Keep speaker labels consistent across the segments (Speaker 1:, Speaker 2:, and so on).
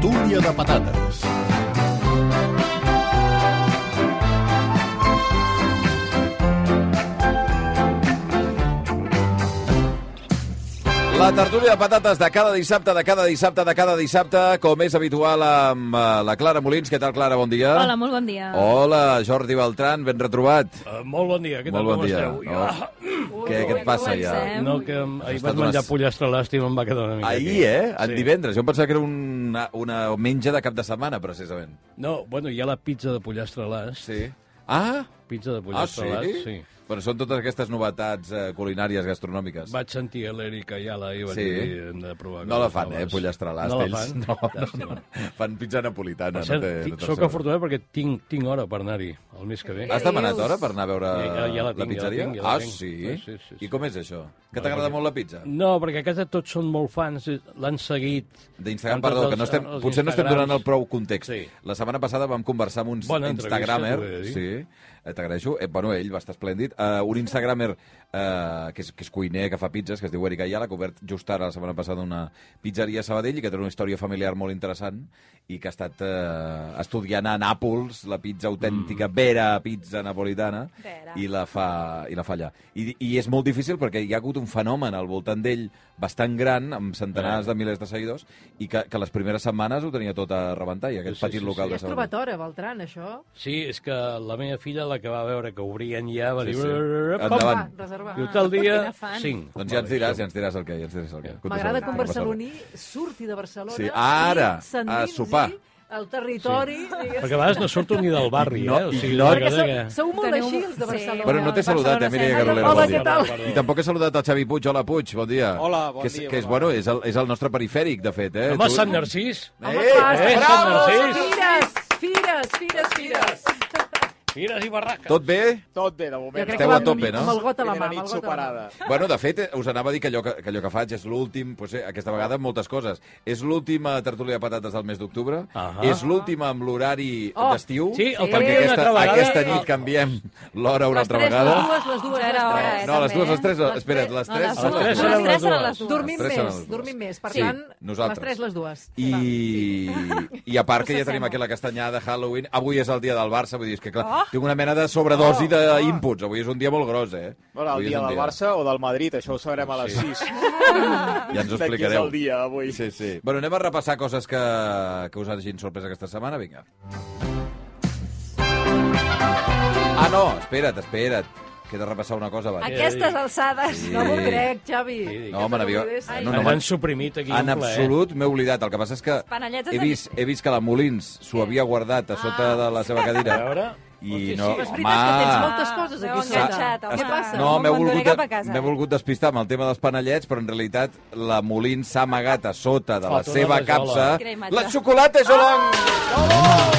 Speaker 1: tortilla de patates.
Speaker 2: La tertúlia de patates de cada dissabte, de cada dissabte, de cada dissabte, com és habitual amb eh, la Clara Molins. Què tal, Clara? Bon dia.
Speaker 3: Hola, molt bon dia.
Speaker 2: Hola, Jordi Beltran, ben retrobat.
Speaker 4: Uh, molt bon dia, què tal,
Speaker 2: Molt
Speaker 4: com
Speaker 2: bon dia.
Speaker 4: esteu?
Speaker 2: No. Què, què et passa, ja?
Speaker 3: comencem.
Speaker 4: No, que em- ahir
Speaker 2: estat
Speaker 4: vaig menjar
Speaker 2: unes-
Speaker 4: pollastre elàstic, em va quedar una mica...
Speaker 2: Ahir, eh? En divendres. Jo em pensava que era una, una menja de cap de setmana, precisament.
Speaker 4: No, bueno, hi ha la pizza de pollastre elàstic.
Speaker 2: eh? Sí. Ah,
Speaker 4: Pizza de
Speaker 2: ah
Speaker 4: pollastre
Speaker 2: sí?
Speaker 4: elàstic,
Speaker 2: sí.
Speaker 4: sí.
Speaker 2: Bueno, són totes aquestes novetats eh, culinàries gastronòmiques.
Speaker 4: Vaig sentir a l'Erika i a la i vaig
Speaker 2: Sí.
Speaker 4: dir, hem de provar...
Speaker 2: No la
Speaker 4: coses
Speaker 2: fan, eh,
Speaker 4: noves."
Speaker 2: pollastre
Speaker 4: No la
Speaker 2: elàstics.
Speaker 4: fan?
Speaker 2: no,
Speaker 4: Llàstima.
Speaker 2: no. Fan pizza napolitana.
Speaker 4: Per cert,
Speaker 2: no té, no
Speaker 4: tinc-
Speaker 2: té
Speaker 4: sóc
Speaker 2: segona.
Speaker 4: afortunat perquè tinc, tinc hora per anar-hi el mes que ve.
Speaker 2: Has
Speaker 3: Què
Speaker 2: demanat
Speaker 3: dius?
Speaker 2: hora per anar a veure
Speaker 4: Ja- ja- ja la tinc, ja la
Speaker 2: pizzeria?
Speaker 4: tinc, ja la
Speaker 2: ah,
Speaker 4: tinc.
Speaker 2: sí?
Speaker 4: Sí, sí, sí, Mm.
Speaker 2: I
Speaker 4: sí.
Speaker 2: com és això? Que t'agrada molt la pizza?
Speaker 4: No, perquè a casa tots són molt fans, eh, l'han seguit... Amb
Speaker 2: D'Instagram,
Speaker 4: tots
Speaker 2: perdó,
Speaker 4: els-
Speaker 2: que no estem,
Speaker 4: els
Speaker 2: potser no estem
Speaker 4: Instagrams.
Speaker 2: donant el prou context.
Speaker 4: Sí.
Speaker 2: La setmana passada vam conversar amb un
Speaker 4: Bona entrevista,
Speaker 2: Instagramer,
Speaker 4: t'ho he de dir.
Speaker 2: sí, eh, t'agraeixo, eh, bueno, ell va estar esplèndid, eh, un Instagramer eh, que, és, que és cuiner, que fa pizzas, que es diu Eric Ayala, que ha obert just ara, la setmana passada, una pizzeria a Sabadell i que té una història familiar molt interessant i que ha estat eh, estudiant a Nàpols la pizza autèntica, vera pizza napolitana,
Speaker 3: Vera.
Speaker 2: i la fa, i la fa allà. I, I és molt difícil perquè hi ha hagut un fenomen al voltant d'ell bastant gran, amb centenars de milers de seguidors, i que, que les primeres setmanes ho tenia tot a rebentar, i aquest
Speaker 4: Sí,
Speaker 2: sí,
Speaker 4: sí,
Speaker 2: petit
Speaker 4: sí,
Speaker 2: local
Speaker 4: sí.
Speaker 2: de
Speaker 5: Has
Speaker 2: Sabadell.
Speaker 5: trobat hora, Beltran, això?
Speaker 4: Sí, és que la meva filla, la que va veure que obrien ja, va
Speaker 2: Sí,
Speaker 4: dir...
Speaker 2: sí.
Speaker 4: "Pop,
Speaker 2: Endavant.
Speaker 5: Va, reservar.
Speaker 4: Diu tal dia,
Speaker 3: Quina fan.
Speaker 4: 5.
Speaker 2: Doncs ja ens diràs, ja ens diràs el que. Ja ens diràs el que.
Speaker 5: M'agrada que un
Speaker 2: Contesta.
Speaker 5: barceloní surti de Barcelona
Speaker 2: Sí, ara,
Speaker 5: i s'endinsi
Speaker 2: a sopar.
Speaker 5: al territori, sí. diguéssim.
Speaker 4: Perquè a vegades no surto ni del barri,
Speaker 2: No,
Speaker 4: eh? O sigui,
Speaker 2: ignora-
Speaker 4: la
Speaker 5: Perquè
Speaker 4: cosa
Speaker 5: sou,
Speaker 4: que...
Speaker 5: sou molt
Speaker 3: Teniu-
Speaker 5: així, els de
Speaker 3: sí.
Speaker 5: Barcelona.
Speaker 2: Bueno, no t'he saludat, eh,
Speaker 3: Barcelona
Speaker 2: Mireia
Speaker 3: sempre.
Speaker 2: Carolera.
Speaker 5: Hola,
Speaker 2: bon dia.
Speaker 5: què tal?
Speaker 4: Perdó.
Speaker 2: I tampoc he saludat el Xavi Puig. Hola, Puig, bon dia.
Speaker 6: Hola, bon
Speaker 2: que és,
Speaker 6: dia,
Speaker 2: Que és,
Speaker 6: bon
Speaker 2: bueno, és el, és el nostre perifèric, de fet. Eh?
Speaker 4: Home,
Speaker 2: Tu-
Speaker 4: Sant Narcís!
Speaker 5: Home,
Speaker 2: Eh,
Speaker 5: clar,
Speaker 4: eh,
Speaker 5: bravo!
Speaker 4: Sant Narcís.
Speaker 5: Fires, fires, fires, fires.
Speaker 4: Fires i barraques!
Speaker 2: Tot bé?
Speaker 6: Tot bé, de moment.
Speaker 2: crec Esteu que a
Speaker 5: va-
Speaker 2: tope, no?
Speaker 5: Amb el got a la mà,
Speaker 6: Primera
Speaker 5: amb el got
Speaker 6: nit
Speaker 5: a la mà.
Speaker 6: superada.
Speaker 2: Bueno, de fet, eh, us anava a dir que allò que, que, allò que faig és l'últim, doncs, eh, aquesta vegada moltes coses. És l'última tertúlia de patates del mes d'octubre,
Speaker 4: Ahà.
Speaker 2: és l'última amb l'horari
Speaker 5: Oh,
Speaker 2: d'estiu,
Speaker 4: sí, el
Speaker 2: perquè
Speaker 4: canviem una
Speaker 2: aquesta,
Speaker 4: altra vegada.
Speaker 2: aquesta
Speaker 4: Sí.
Speaker 2: nit canviem l'hora una
Speaker 3: Les
Speaker 2: altra
Speaker 3: tres,
Speaker 2: vegada.
Speaker 3: no?
Speaker 5: Les dues, les dues,
Speaker 3: Ja
Speaker 5: les
Speaker 3: era hora,
Speaker 5: tres.
Speaker 3: eh,
Speaker 2: No, les dues,
Speaker 3: també.
Speaker 2: les tres, no, espera't, les
Speaker 3: No,
Speaker 2: tres
Speaker 3: les
Speaker 2: són
Speaker 3: dues.
Speaker 2: les
Speaker 3: No,
Speaker 2: dues.
Speaker 3: les tres seran les dues.
Speaker 5: Dormim
Speaker 2: Les tres seran
Speaker 5: més,
Speaker 2: les dues.
Speaker 5: dormim més. Per
Speaker 2: Sí,
Speaker 5: tant,
Speaker 2: nosaltres.
Speaker 5: les tres, les dues.
Speaker 2: I,
Speaker 4: Ah,
Speaker 2: i a part que ja tenim
Speaker 3: s'assembla.
Speaker 2: aquí la castanyada, Halloween, avui és el dia del Barça, vull dir, és que clar,
Speaker 4: Oh.
Speaker 2: tinc una mena de sobredosi d'inputs, avui és un dia molt gros, eh?
Speaker 6: Bueno,
Speaker 2: Avui
Speaker 6: el
Speaker 2: és
Speaker 6: dia
Speaker 2: un
Speaker 6: del Barça o del Madrid, això ho sabrem a les 6.
Speaker 2: Ja ens ho
Speaker 6: D'aquí és
Speaker 2: explicareu.
Speaker 6: el dia d'avui.
Speaker 2: Sí, sí. Bueno, anem a repassar coses que, que us hagin sorprès aquesta setmana, vinga. Ah, no, espera't, espera't, que he de repassar una cosa abans.
Speaker 3: Aquestes alçades...
Speaker 5: No m'ho crec, Xavi.
Speaker 4: Sí.
Speaker 2: No, me n'havia...
Speaker 5: Ai.
Speaker 4: No,
Speaker 2: No, no,
Speaker 4: no,
Speaker 2: me-
Speaker 4: han suprimit aquí
Speaker 2: en
Speaker 4: un eh? plaer.
Speaker 2: absolut m'he oblidat. El que passa és que
Speaker 3: panelletes
Speaker 2: he
Speaker 3: de
Speaker 2: vist, he vist que la Molins s'ho havia guardat a sota de la seva
Speaker 4: A
Speaker 2: cadira.
Speaker 4: veure...
Speaker 2: I
Speaker 4: Hosti,
Speaker 2: no,
Speaker 4: sí.
Speaker 5: És veritat que tens
Speaker 2: home...
Speaker 5: moltes coses
Speaker 3: Ah,
Speaker 5: aquí
Speaker 3: m'heu enganxat,
Speaker 5: sota.
Speaker 3: home.
Speaker 5: Què passa?
Speaker 2: No, m'he
Speaker 3: Me'n volgut
Speaker 2: volgut,
Speaker 3: cap a casa.
Speaker 2: m'he volgut despistar amb el tema dels panellets, però en realitat la Molins s'ha amagat a sota de la
Speaker 4: Foto una
Speaker 2: seva
Speaker 4: rajola.
Speaker 2: capsa
Speaker 3: Quina imatge.
Speaker 2: la xocolata Jolong!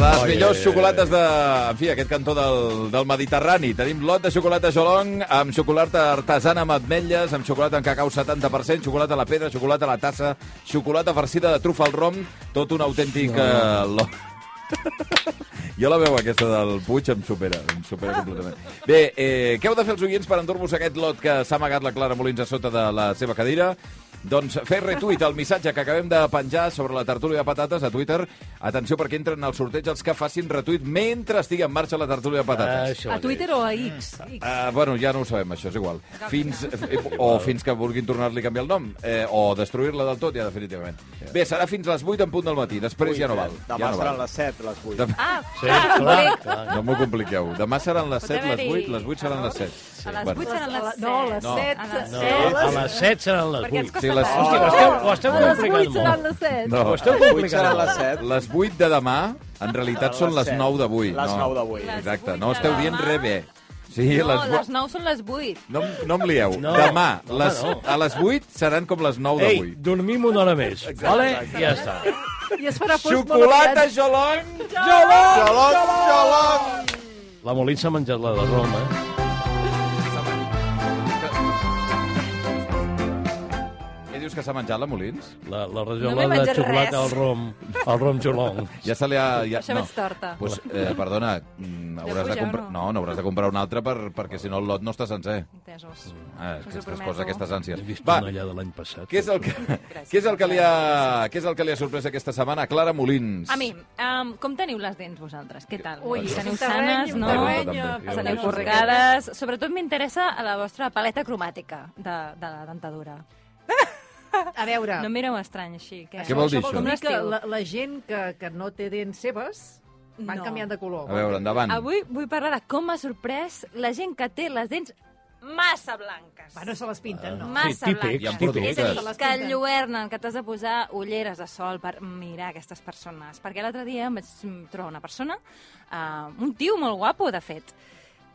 Speaker 2: Les millors xocolates de... En fi, aquest cantó del, del Mediterrani. Tenim lot de xocolata Jolong amb xocolata artesana amb ametlles, amb xocolata en cacau 70%, xocolata a la pedra, xocolata a la tassa, xocolata farcida de trufa al rom, tot un autèntic eh, lot. Jo la veu aquesta del Puig em supera, em supera completament. Bé, eh, què heu de fer els oients per endur-vos aquest lot que s'ha amagat la Clara Molins a sota de la seva cadira? Doncs fer retuit el missatge que acabem de penjar sobre la tertúlia de patates a Twitter. Atenció perquè entren al sorteig els que facin retuit mentre estigui en marxa la tertúlia de patates.
Speaker 4: Ah, Això
Speaker 5: A Twitter o a X? X.
Speaker 2: Uh, bueno, ja no ho sabem, això és igual. Fins, eh, o fins que vulguin tornar-li a canviar el nom, eh, o destruir-la del tot, ja definitivament. Bé, serà fins a les 8 en punt del matí, després ja no val.
Speaker 6: Demà
Speaker 2: Ja no val.
Speaker 6: seran eh, les 7, les 8.
Speaker 2: Demà-
Speaker 3: Ah,
Speaker 4: Sí, clar, clar.
Speaker 2: No m'ho compliqueu. Demà seran les
Speaker 3: Pot
Speaker 2: 7, les
Speaker 3: haver-hi
Speaker 2: 8, les 8 seran les 7.
Speaker 3: a les 8 seran les 7.
Speaker 5: No, a les
Speaker 2: No.
Speaker 5: set.
Speaker 3: A les
Speaker 4: No,
Speaker 3: set.
Speaker 4: a les 7 seran les
Speaker 3: Perquè ens
Speaker 4: 8.
Speaker 2: Sí,
Speaker 3: costa
Speaker 2: les-
Speaker 3: tant.
Speaker 4: Hosti, ho esteu, ho esteu
Speaker 5: A les
Speaker 4: complicant
Speaker 5: 8 seran
Speaker 4: molt.
Speaker 5: les 7.
Speaker 2: No,
Speaker 4: Ho esteu
Speaker 6: Les 8
Speaker 4: complicant
Speaker 6: seran les
Speaker 4: molt.
Speaker 6: 7.
Speaker 2: les 8 de demà, en realitat, són les
Speaker 6: set.
Speaker 2: 9 d'avui.
Speaker 6: Les
Speaker 2: no?
Speaker 6: 9 d'avui.
Speaker 2: Exacte,
Speaker 3: Les
Speaker 2: no
Speaker 3: vuit
Speaker 2: esteu
Speaker 3: de
Speaker 2: dient
Speaker 3: demà.
Speaker 2: re bé. Sí,
Speaker 3: No,
Speaker 2: les...
Speaker 3: les 9 són les 8.
Speaker 2: No, em- no em lieu.
Speaker 4: No,
Speaker 2: demà,
Speaker 4: home,
Speaker 2: les,
Speaker 4: no.
Speaker 2: a les 8 seran com les 9
Speaker 4: Ei,
Speaker 2: d'avui.
Speaker 4: dormim una hora més, vale? I ja està.
Speaker 5: I es farà fos molt
Speaker 2: Xocolata
Speaker 5: aviat.
Speaker 2: Jolong!
Speaker 6: Xolong, xolong!
Speaker 4: La Molins s'ha menjat la de Roma. eh?
Speaker 2: Què dius que que s'ha menjat, la Molins?
Speaker 4: La, la
Speaker 3: No m'he
Speaker 4: rajola de
Speaker 3: menjat
Speaker 4: xocolata
Speaker 3: res.
Speaker 4: al rom, al rom xolong.
Speaker 2: Ja se li ha... Ja,
Speaker 3: Això veig torta.
Speaker 2: Pues, eh, perdona, mm, hauràs de
Speaker 3: puja o
Speaker 2: comprar...
Speaker 3: no?
Speaker 2: No, n'hauràs de comprar un altre per, perquè si no el lot no està sencer.
Speaker 3: Entesos.
Speaker 2: Ah,
Speaker 3: Us ho
Speaker 2: aquestes
Speaker 3: prometo.
Speaker 2: coses, aquestes
Speaker 4: He
Speaker 2: ànsies.
Speaker 4: vist
Speaker 2: Va,
Speaker 4: una allà de l'any passat.
Speaker 2: què és el que, què és el que, li ha, què és el que li ha sorprès aquesta setmana a Clara Molins?
Speaker 3: A mi, um, com teniu les dents vosaltres? Què tal?
Speaker 5: Ui,
Speaker 3: les
Speaker 5: un
Speaker 3: teniu
Speaker 5: terreny,
Speaker 3: sanes,
Speaker 5: un
Speaker 3: no?
Speaker 2: terreny.
Speaker 3: Les
Speaker 4: Jo
Speaker 3: teniu
Speaker 4: no sé.
Speaker 3: corregades? Sobretot m'interessa a la vostra paleta cromàtica de, de la dentadura.
Speaker 5: A veure,
Speaker 3: No em mireu estrany així. Què,
Speaker 2: Què vol dir, això?
Speaker 5: com
Speaker 3: Com
Speaker 5: dir que
Speaker 3: l'estiu?
Speaker 5: Ah. la, la gent que, que no té dents seves van
Speaker 3: No.
Speaker 5: canviant de color.
Speaker 2: A veure, endavant.
Speaker 3: Avui vull parlar de com m'ha sorprès la gent que té les dents massa blanques.
Speaker 5: Va, no se les pinten, no.
Speaker 3: Massa
Speaker 4: Sí, típics,
Speaker 3: blanques.
Speaker 2: típics.
Speaker 3: És a dir,
Speaker 5: Les
Speaker 3: que
Speaker 5: pinten.
Speaker 3: enlluernen, que t'has de posar ulleres de sol per mirar aquestes persones. Perquè l'altre dia em vaig mm, trobar una persona, uh, un tio molt guapo, de fet.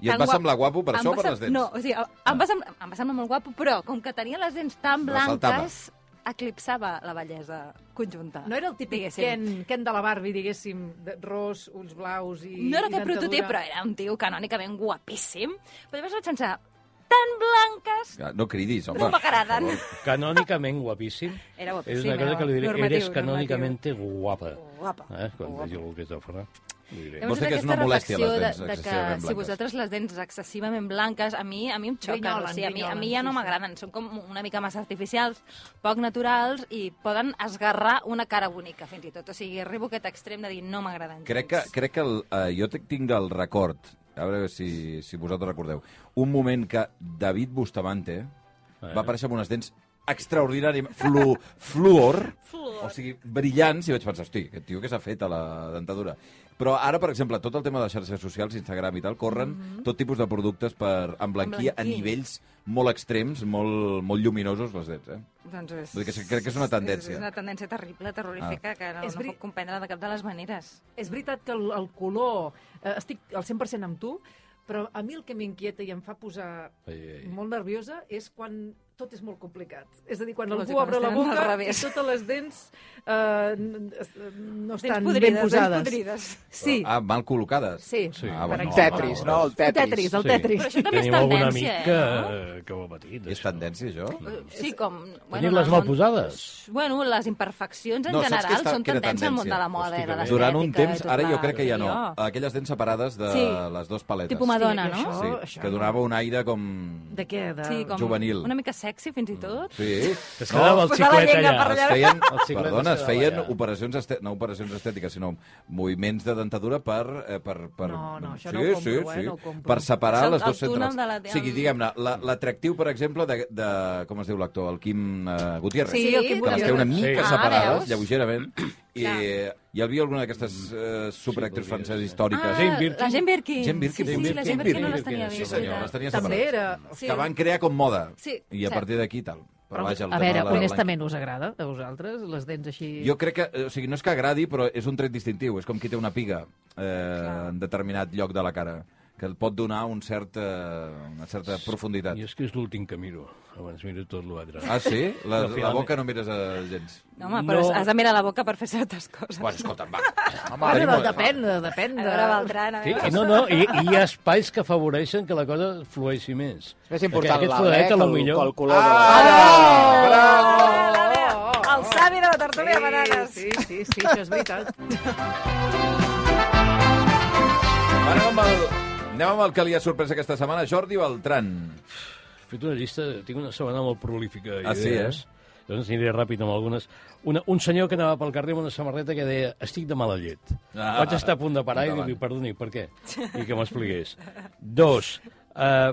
Speaker 2: I et
Speaker 3: Tan
Speaker 2: va
Speaker 3: guap-
Speaker 2: semblar guapo per
Speaker 3: Em
Speaker 2: això o
Speaker 3: va
Speaker 2: per
Speaker 3: sem-
Speaker 2: les dents? Ah.
Speaker 3: No, o sigui, em, em va semblar, em va semblar molt guapo, però com que tenia les dents tan
Speaker 2: Ressaltava.
Speaker 3: blanques, eclipsava la bellesa conjunta.
Speaker 5: No era el típic
Speaker 3: diguéssim.
Speaker 5: Ken, Ken de la Barbie, diguéssim, de- ros, ulls blaus i
Speaker 3: No era
Speaker 5: i
Speaker 3: aquest
Speaker 5: dentadura.
Speaker 3: prototip, però era un tio canònicament guapíssim. Però llavors vaig pensar, tan blanques...
Speaker 2: Ah, No cridis, home.
Speaker 3: No m'agraden.
Speaker 2: Per favor.
Speaker 4: Canònicament guapíssim.
Speaker 3: Era guapíssim,
Speaker 4: És una cosa
Speaker 3: era
Speaker 4: que li diré,
Speaker 3: normatiu,
Speaker 4: eres canònicament guapa.
Speaker 3: Guapa.
Speaker 4: Eh? Quan digui algú que és afra. li diré.
Speaker 2: Vols dir que és una molèstia, les dents
Speaker 3: de, de que
Speaker 2: excessivament
Speaker 3: si
Speaker 2: blanques?
Speaker 3: vosaltres les dents excessivament blanques, a mi, a mi em xoquen,
Speaker 5: Grinyolen,
Speaker 3: o sigui, a mi, a mi
Speaker 5: grinyolen,
Speaker 3: ja no
Speaker 5: sí, sí.
Speaker 3: m'agraden, són com una mica massa artificials, poc naturals i poden esgarrar una cara bonica, fins i tot. O sigui, arribo a aquest extrem de dir no m'agraden
Speaker 2: Crec que, crec que el, eh, jo te- tinc el record, a veure si, si vosaltres recordeu, un moment que David Bustamante
Speaker 4: Eh.
Speaker 2: va aparèixer amb unes dents extraordinàriament flu, fluor, o sigui, brillants, i vaig pensar, hosti, aquest tio que s'ha fet a la dentadura. Però ara, per exemple, tot el tema de xarxes socials, Instagram i tal, corren tot tipus de productes per emblanquir a
Speaker 3: Mhm. Emblanquir.
Speaker 2: nivells molt extrems, molt, molt lluminosos, les dents, eh?
Speaker 3: Doncs és,
Speaker 2: Vull dir que sí, crec que és una tendència. Ah.
Speaker 3: És, és una tendència terrible, terrorífica, que no,
Speaker 5: És
Speaker 3: no
Speaker 5: veri-
Speaker 3: puc comprendre de cap de les maneres.
Speaker 5: És veritat que el, el color... Eh, estic al 100% amb tu, però a mi el que m'inquieta i em fa posar
Speaker 4: Ai, ai.
Speaker 5: molt nerviosa és quan tot és molt complicat. És a dir, quan
Speaker 3: Clar, sí,
Speaker 5: algú
Speaker 3: quan
Speaker 5: obre la
Speaker 3: estan al
Speaker 5: boca i
Speaker 3: revés.
Speaker 5: totes les dents eh, n- es- no estan ben
Speaker 3: podrides, dents
Speaker 5: posades.
Speaker 3: podrides.
Speaker 5: Sí,
Speaker 2: Ah, mal col·locades.
Speaker 5: sí.
Speaker 4: Sí.
Speaker 2: Ah,
Speaker 5: Per
Speaker 2: bueno,
Speaker 5: exemple.
Speaker 6: Tetris, no? El
Speaker 5: El
Speaker 6: Tetris.
Speaker 5: Tetris, el Tetris.
Speaker 3: Però això també és
Speaker 4: Tenim algun
Speaker 3: tendència, eh?
Speaker 4: amic que, que ho ha patit.
Speaker 2: És
Speaker 4: això.
Speaker 2: tendència, això?
Speaker 3: Sí, com...
Speaker 4: Tenir-les
Speaker 3: en el
Speaker 4: mal
Speaker 3: món-
Speaker 4: posades.
Speaker 3: Bueno, les imperfeccions en
Speaker 2: No,
Speaker 3: no,
Speaker 2: saps
Speaker 3: general
Speaker 2: què està-
Speaker 3: són
Speaker 2: que era
Speaker 3: tendència al món de la
Speaker 2: tendència?
Speaker 3: moda i de
Speaker 4: Hosti,
Speaker 3: l'estètica.
Speaker 2: Durant un temps,
Speaker 3: i tot
Speaker 2: ara jo
Speaker 3: la-
Speaker 2: crec que ja no.
Speaker 3: Jo.
Speaker 2: Aquelles dents separades de
Speaker 3: Sí.
Speaker 2: les dues paletes.
Speaker 3: Tipus Madonna,
Speaker 5: Sí,
Speaker 3: no?
Speaker 5: això-
Speaker 2: Sí, que donava un aire com...
Speaker 5: De què? De...
Speaker 3: Sí, com
Speaker 2: Juvenil. Mm.
Speaker 3: Una mica sexy, fins i tot.
Speaker 2: Sí.
Speaker 4: Que es quedava el
Speaker 3: posar la
Speaker 4: xiclet
Speaker 3: llengua
Speaker 4: allà.
Speaker 3: per
Speaker 2: Es
Speaker 3: allà.
Speaker 2: feien,
Speaker 4: El xiclet
Speaker 2: perdona,
Speaker 4: es
Speaker 2: es
Speaker 4: quedava
Speaker 2: feien
Speaker 4: allà.
Speaker 2: operacions, este... no operacions estètiques, sinó moviments de dentadura per... Eh, per, per...
Speaker 5: No, no, això
Speaker 2: sí,
Speaker 5: no ho compro,
Speaker 2: sí,
Speaker 5: eh,
Speaker 2: sí.
Speaker 5: no ho compro.
Speaker 2: Per separar
Speaker 3: És el-
Speaker 2: les dues
Speaker 3: el túnel
Speaker 2: centrals.
Speaker 3: de la-
Speaker 2: O sigui, diguem-ne, la- l'atractiu, per exemple, de, de... Com es diu l'actor? El Quim eh, Gutiérrez.
Speaker 3: Sí, el Quim
Speaker 2: que les té una
Speaker 3: Gutiérrez.
Speaker 2: mica
Speaker 4: Sí.
Speaker 2: separades,
Speaker 3: Ah, veus?
Speaker 2: lleugerament, i
Speaker 3: Clar.
Speaker 2: hi havia alguna d'aquestes eh, superactrius
Speaker 4: Mm. Sí,
Speaker 2: franceses
Speaker 4: podria ser.
Speaker 2: històriques.
Speaker 4: Ah, Jane Birkin.
Speaker 3: La Jane Birkin.
Speaker 2: Jane Birkin,
Speaker 3: Sí, sí,
Speaker 2: potser.
Speaker 3: la
Speaker 2: Jane
Speaker 3: Jane Birkin no les
Speaker 4: Birkin,
Speaker 3: tenia
Speaker 4: sí,
Speaker 3: bien.
Speaker 2: senyor, les tenia
Speaker 5: També
Speaker 2: separades.
Speaker 5: era...
Speaker 3: Sí.
Speaker 2: que van crear com moda.
Speaker 3: Sí,
Speaker 2: I a
Speaker 3: cert.
Speaker 2: partir d'aquí tal. Però, vaja, el tema
Speaker 5: a
Speaker 2: de
Speaker 5: veure,
Speaker 2: la-
Speaker 5: honestament, us agrada a vosaltres les dents així?
Speaker 2: Jo crec que, eh, o sigui, no és que agradi, però és un tret distintiu. És com qui té una piga eh, en determinat lloc de la cara, que el pot donar un cert, eh, una certa profunditat.
Speaker 4: I és que és l'últim que miro. Abans miro tot l'altre.
Speaker 2: Ah, sí? La,
Speaker 4: No,
Speaker 2: la
Speaker 4: finalment.
Speaker 2: boca no mires a gens.
Speaker 3: No, home, però
Speaker 4: No.
Speaker 3: has de mirar la boca per fer certes coses.
Speaker 2: Bueno, escolta'm, va.
Speaker 5: Home,
Speaker 2: tenim
Speaker 5: bueno,
Speaker 2: molt-
Speaker 5: depèn, depèn.
Speaker 3: A
Speaker 5: De...
Speaker 3: veure, Beltran, a
Speaker 4: Sí,
Speaker 3: veure...
Speaker 4: i no, no, i, i hi ha espais que afavoreixen que la cosa flueixi més.
Speaker 6: És més important
Speaker 4: Aquest-
Speaker 6: la eh,
Speaker 4: aquest floret,
Speaker 6: que
Speaker 4: a lo
Speaker 6: el, que el
Speaker 4: millor...
Speaker 6: color de la...
Speaker 5: Ah!
Speaker 3: Oh, El savi de la tertúlia de bananes.
Speaker 5: Sí, sí, sí, això és veritat.
Speaker 2: Anem amb el, anem amb el que li ha sorprès aquesta setmana, Jordi Beltran.
Speaker 4: He fet una llista, tinc una setmana molt prolífica.
Speaker 2: Ah, sí,
Speaker 4: d'idees. Llavors aniré ràpid amb algunes. Una, un senyor que anava pel carrer amb una samarreta que deia estic de mala llet.
Speaker 2: Ah,
Speaker 4: Ah, Vaig estar a punt de parar i
Speaker 2: endavant.
Speaker 4: dir, perdoni, per què? I que m'expliqués. Dos, eh,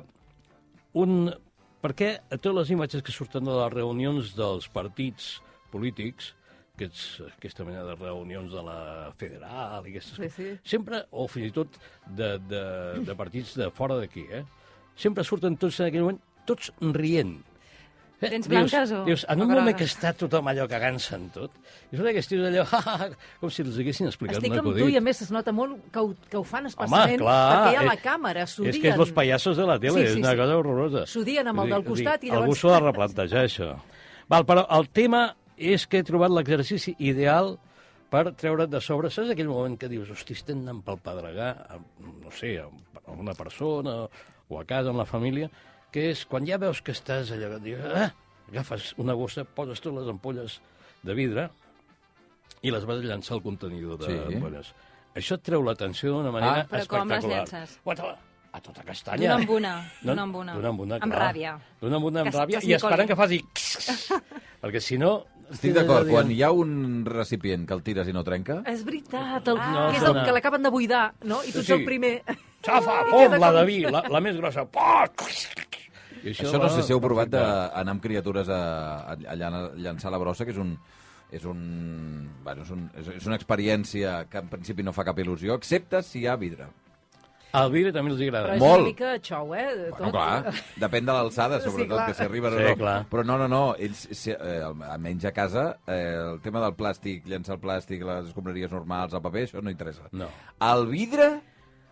Speaker 4: un... Per què a totes les imatges que surten de les reunions dels partits polítics, aquests, aquesta mena de reunions de la federal i aquestes
Speaker 5: Sí, sí.
Speaker 4: sempre, o fins i tot de, de, de partits de fora d'aquí, eh? sempre surten tots en aquell moment, tots rient. Eh,
Speaker 3: Tens
Speaker 4: dius-
Speaker 3: blanques o-
Speaker 4: Dius, en
Speaker 3: o
Speaker 4: un moment
Speaker 3: grogues?
Speaker 4: que està tothom allò cagant-se en tot, i surt aquests tios allò, ha, ha, ha, com si els haguessin explicat
Speaker 5: Estic
Speaker 4: un
Speaker 5: amb
Speaker 4: acudit.
Speaker 5: tu i a més es nota molt que ho, que ho fan
Speaker 4: Home,
Speaker 5: especialment
Speaker 4: clar,
Speaker 5: perquè hi ha la
Speaker 2: eh,
Speaker 4: és-
Speaker 5: càmera, s'odien.
Speaker 4: És que és los pallassos de la tele, sí, sí, és una sí. cosa horrorosa.
Speaker 5: S'odien amb el
Speaker 4: Vull dir-
Speaker 5: del costat
Speaker 4: vull
Speaker 5: i
Speaker 4: dir, Algú
Speaker 5: llavors-
Speaker 4: s'ho ha de replantejar, això. Val, però el tema és que he trobat l'exercici ideal per treure't de sobre. Saps aquell moment que dius, hosti, estem anant pel pedregar, a- no sé, a a una persona o a casa, amb la família, que és quan ja veus que estàs allò que dius, ah, agafes una bossa, poses totes les ampolles de vidre i les vas llançar al contenidor
Speaker 2: Sí.
Speaker 4: d'ampolles. Això et treu l'atenció d'una manera
Speaker 2: Ah.
Speaker 3: Però com
Speaker 4: espectacular.
Speaker 3: les llances?
Speaker 4: Guata-la, a tota castanya.
Speaker 3: D'una amb una,
Speaker 4: No,
Speaker 3: d'una amb una.
Speaker 4: D'una amb una,
Speaker 3: Amb
Speaker 4: clar.
Speaker 3: ràbia.
Speaker 4: D'una amb una,
Speaker 3: Que
Speaker 4: amb ràbia,
Speaker 3: se
Speaker 4: i esperant
Speaker 3: coli.
Speaker 4: que faci... perquè si no...
Speaker 2: Estic d'acord, quan hi ha un recipient que el tires i no trenca...
Speaker 5: És veritat, el,
Speaker 4: Ah.
Speaker 5: que és el
Speaker 4: No,
Speaker 5: que l'acaben de buidar, no? I tu
Speaker 4: Sí,
Speaker 5: ets
Speaker 4: sí.
Speaker 5: el primer.
Speaker 4: Xafa,
Speaker 5: I
Speaker 4: pom,
Speaker 5: queda
Speaker 4: la
Speaker 5: com-
Speaker 4: de vi, la, la més grossa. Pom! I
Speaker 2: Això no
Speaker 4: va
Speaker 2: sé si heu provat
Speaker 4: perfecte.
Speaker 2: d'anar amb criatures a, a, a llan- llançar la brossa, que és un és, un, bueno, és, un, és, és una experiència que en principi no fa cap il·lusió, excepte si hi ha vidre.
Speaker 4: Al vidre també els agrada.
Speaker 5: Però és
Speaker 2: Molt.
Speaker 5: una mica xou, eh? de
Speaker 2: Bueno,
Speaker 5: tot.
Speaker 2: clar, depèn de l'alçada,
Speaker 5: Sí,
Speaker 2: sobretot,
Speaker 5: clar.
Speaker 2: que si arriba o
Speaker 4: Sí,
Speaker 2: no.
Speaker 4: clar.
Speaker 2: Però no, no, no, ells, si, eh, almenys a casa, eh, el tema del plàstic, llançar el plàstic, les escombraries normals, el paper, això no interessa.
Speaker 4: No.
Speaker 2: El vidre,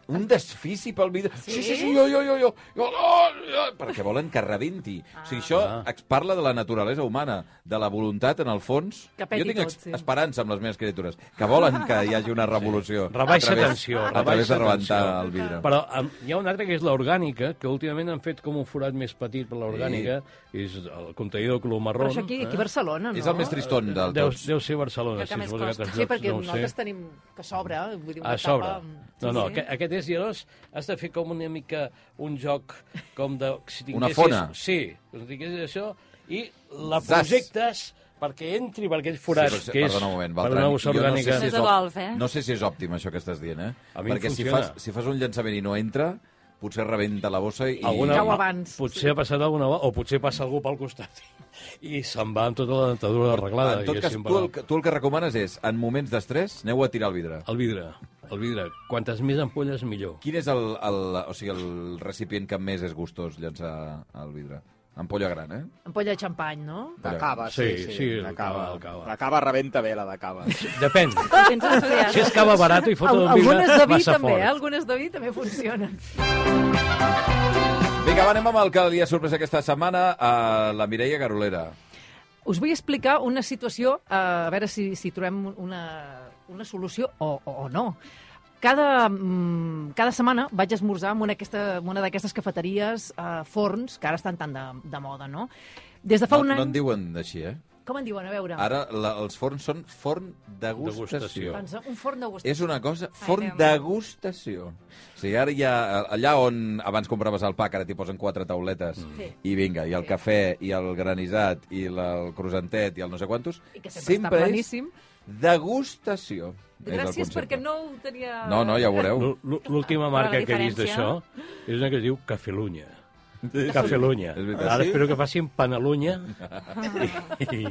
Speaker 2: un desfici pel vidre. Sí, sí, sí, jo, jo, jo, jo, jo, no, jo perquè volen que rebenti. Ah. O sigui, això
Speaker 4: Ah.
Speaker 2: ah. parla de la naturalesa humana, de la voluntat, en el fons.
Speaker 5: Que peti
Speaker 2: jo tinc
Speaker 5: tot,
Speaker 2: ex-
Speaker 5: sí.
Speaker 2: esperança amb les meves criatures, que volen que hi hagi una revolució.
Speaker 4: Rebaixa
Speaker 2: a través,
Speaker 4: tensió,
Speaker 2: A través
Speaker 4: rebaixa
Speaker 2: de rebentar
Speaker 4: tensió.
Speaker 2: el vidre.
Speaker 4: Però um, hi ha una altra que és l'orgànica, que últimament han fet com un forat més petit per l'orgànica, sí. és el contenidor color marró.
Speaker 5: Però això aquí, aquí a Barcelona, no?
Speaker 2: És el més tristón del
Speaker 4: Deu,
Speaker 2: tots.
Speaker 4: deu ser Barcelona.
Speaker 3: El que més
Speaker 4: suposo
Speaker 3: costa.
Speaker 4: altres
Speaker 5: Sí,
Speaker 4: llocs
Speaker 5: perquè
Speaker 4: no ho sé.
Speaker 5: nosaltres tenim que s'obre, vull dir, una mm,
Speaker 4: A sobre.
Speaker 5: tapa...
Speaker 4: No, no,
Speaker 3: Sí, sí.
Speaker 4: sí. aquest és, i llavors has de fer com una mica un joc com de... Si
Speaker 2: Una
Speaker 4: tinguessis-
Speaker 2: fona.
Speaker 4: Sí, si tinguessis això, i la
Speaker 2: Zas.
Speaker 4: projectes perquè entri per aquests forats,
Speaker 2: però-
Speaker 4: que és
Speaker 2: perdona un moment,
Speaker 4: per
Speaker 2: Beltrán,
Speaker 4: una bossa
Speaker 2: jo no sé
Speaker 4: orgànica.
Speaker 2: si
Speaker 3: És
Speaker 2: és
Speaker 3: de
Speaker 2: òptim-
Speaker 3: golf, eh?
Speaker 2: No sé si és òptim, això que estàs dient, eh?
Speaker 4: A mi em
Speaker 2: Perquè si
Speaker 4: funciona.
Speaker 2: fas, si fas un llançament i no entra, potser rebenta la bossa i...
Speaker 4: alguna...
Speaker 5: Cau abans.
Speaker 4: Potser ha passat alguna vegada, o potser passa algú pel costat i se'n va amb tota la dentadura arreglada.
Speaker 2: En tot cas,
Speaker 4: diguéssim,
Speaker 2: tu el,
Speaker 4: per-
Speaker 2: que- tu el que recomanes és, en moments d'estrès, aneu a tirar el vidre.
Speaker 4: El vidre, el vidre. Quantes més ampolles, millor.
Speaker 2: Quin és el, el, o sigui, el recipient que més és gustós llançar el vidre? Ampolla gran, eh?
Speaker 5: Ampolla de xampany, no?
Speaker 6: De cava, sí,
Speaker 4: Sí,
Speaker 6: sí.
Speaker 4: sí,
Speaker 6: de
Speaker 4: el cava, el cava.
Speaker 6: La cava rebenta bé, la de cava.
Speaker 4: Depèn.
Speaker 3: Tens estudiat.
Speaker 4: Si és cava barata i foto el vidre,
Speaker 5: Algunes de vi
Speaker 4: massa
Speaker 5: també,
Speaker 4: fort.
Speaker 5: eh? Algunes de vi també funcionen.
Speaker 2: Vinga, va, anem amb el que li ha sorprès aquesta setmana a la Mireia Garolera.
Speaker 5: Us vull explicar una situació, eh, a veure si, si trobem una, una solució o, o, o no. Cada, mm, cada setmana vaig esmorzar en una, aquesta, en una d'aquestes cafeteries eh, forns, que ara estan tan de, de moda, no? Des de fa
Speaker 2: No,
Speaker 5: un
Speaker 2: no en
Speaker 5: any...
Speaker 2: diuen així, eh?
Speaker 5: Com en diuen? A veure.
Speaker 2: Ara la, els forns són forn
Speaker 4: Degustació.
Speaker 2: degustació.
Speaker 5: Pensa, un forn de gust.
Speaker 2: És una cosa,
Speaker 3: Déu
Speaker 2: forn
Speaker 3: meu.
Speaker 2: degustació. O sigui, ara ja, allà on abans compraves el pa, que ara t'hi posen quatre tauletes,
Speaker 5: Mm. Sí.
Speaker 2: i vinga, i el cafè, i el granissat, i la, el croissantet, i el no sé quantos,
Speaker 5: I que sempre, sempre està planíssim.
Speaker 2: és degustació. és el
Speaker 5: Gràcies
Speaker 2: concepte.
Speaker 5: perquè no ho tenia...
Speaker 2: No, no, ja ho veureu.
Speaker 4: L- l- L'última
Speaker 3: Però la
Speaker 4: marca que he vist
Speaker 3: diferència-
Speaker 4: d'això és una que es diu Cafelunya. Cafelunya.
Speaker 2: És veritat.
Speaker 4: Ara
Speaker 2: Sí?
Speaker 4: espero que facin Panalunya. I...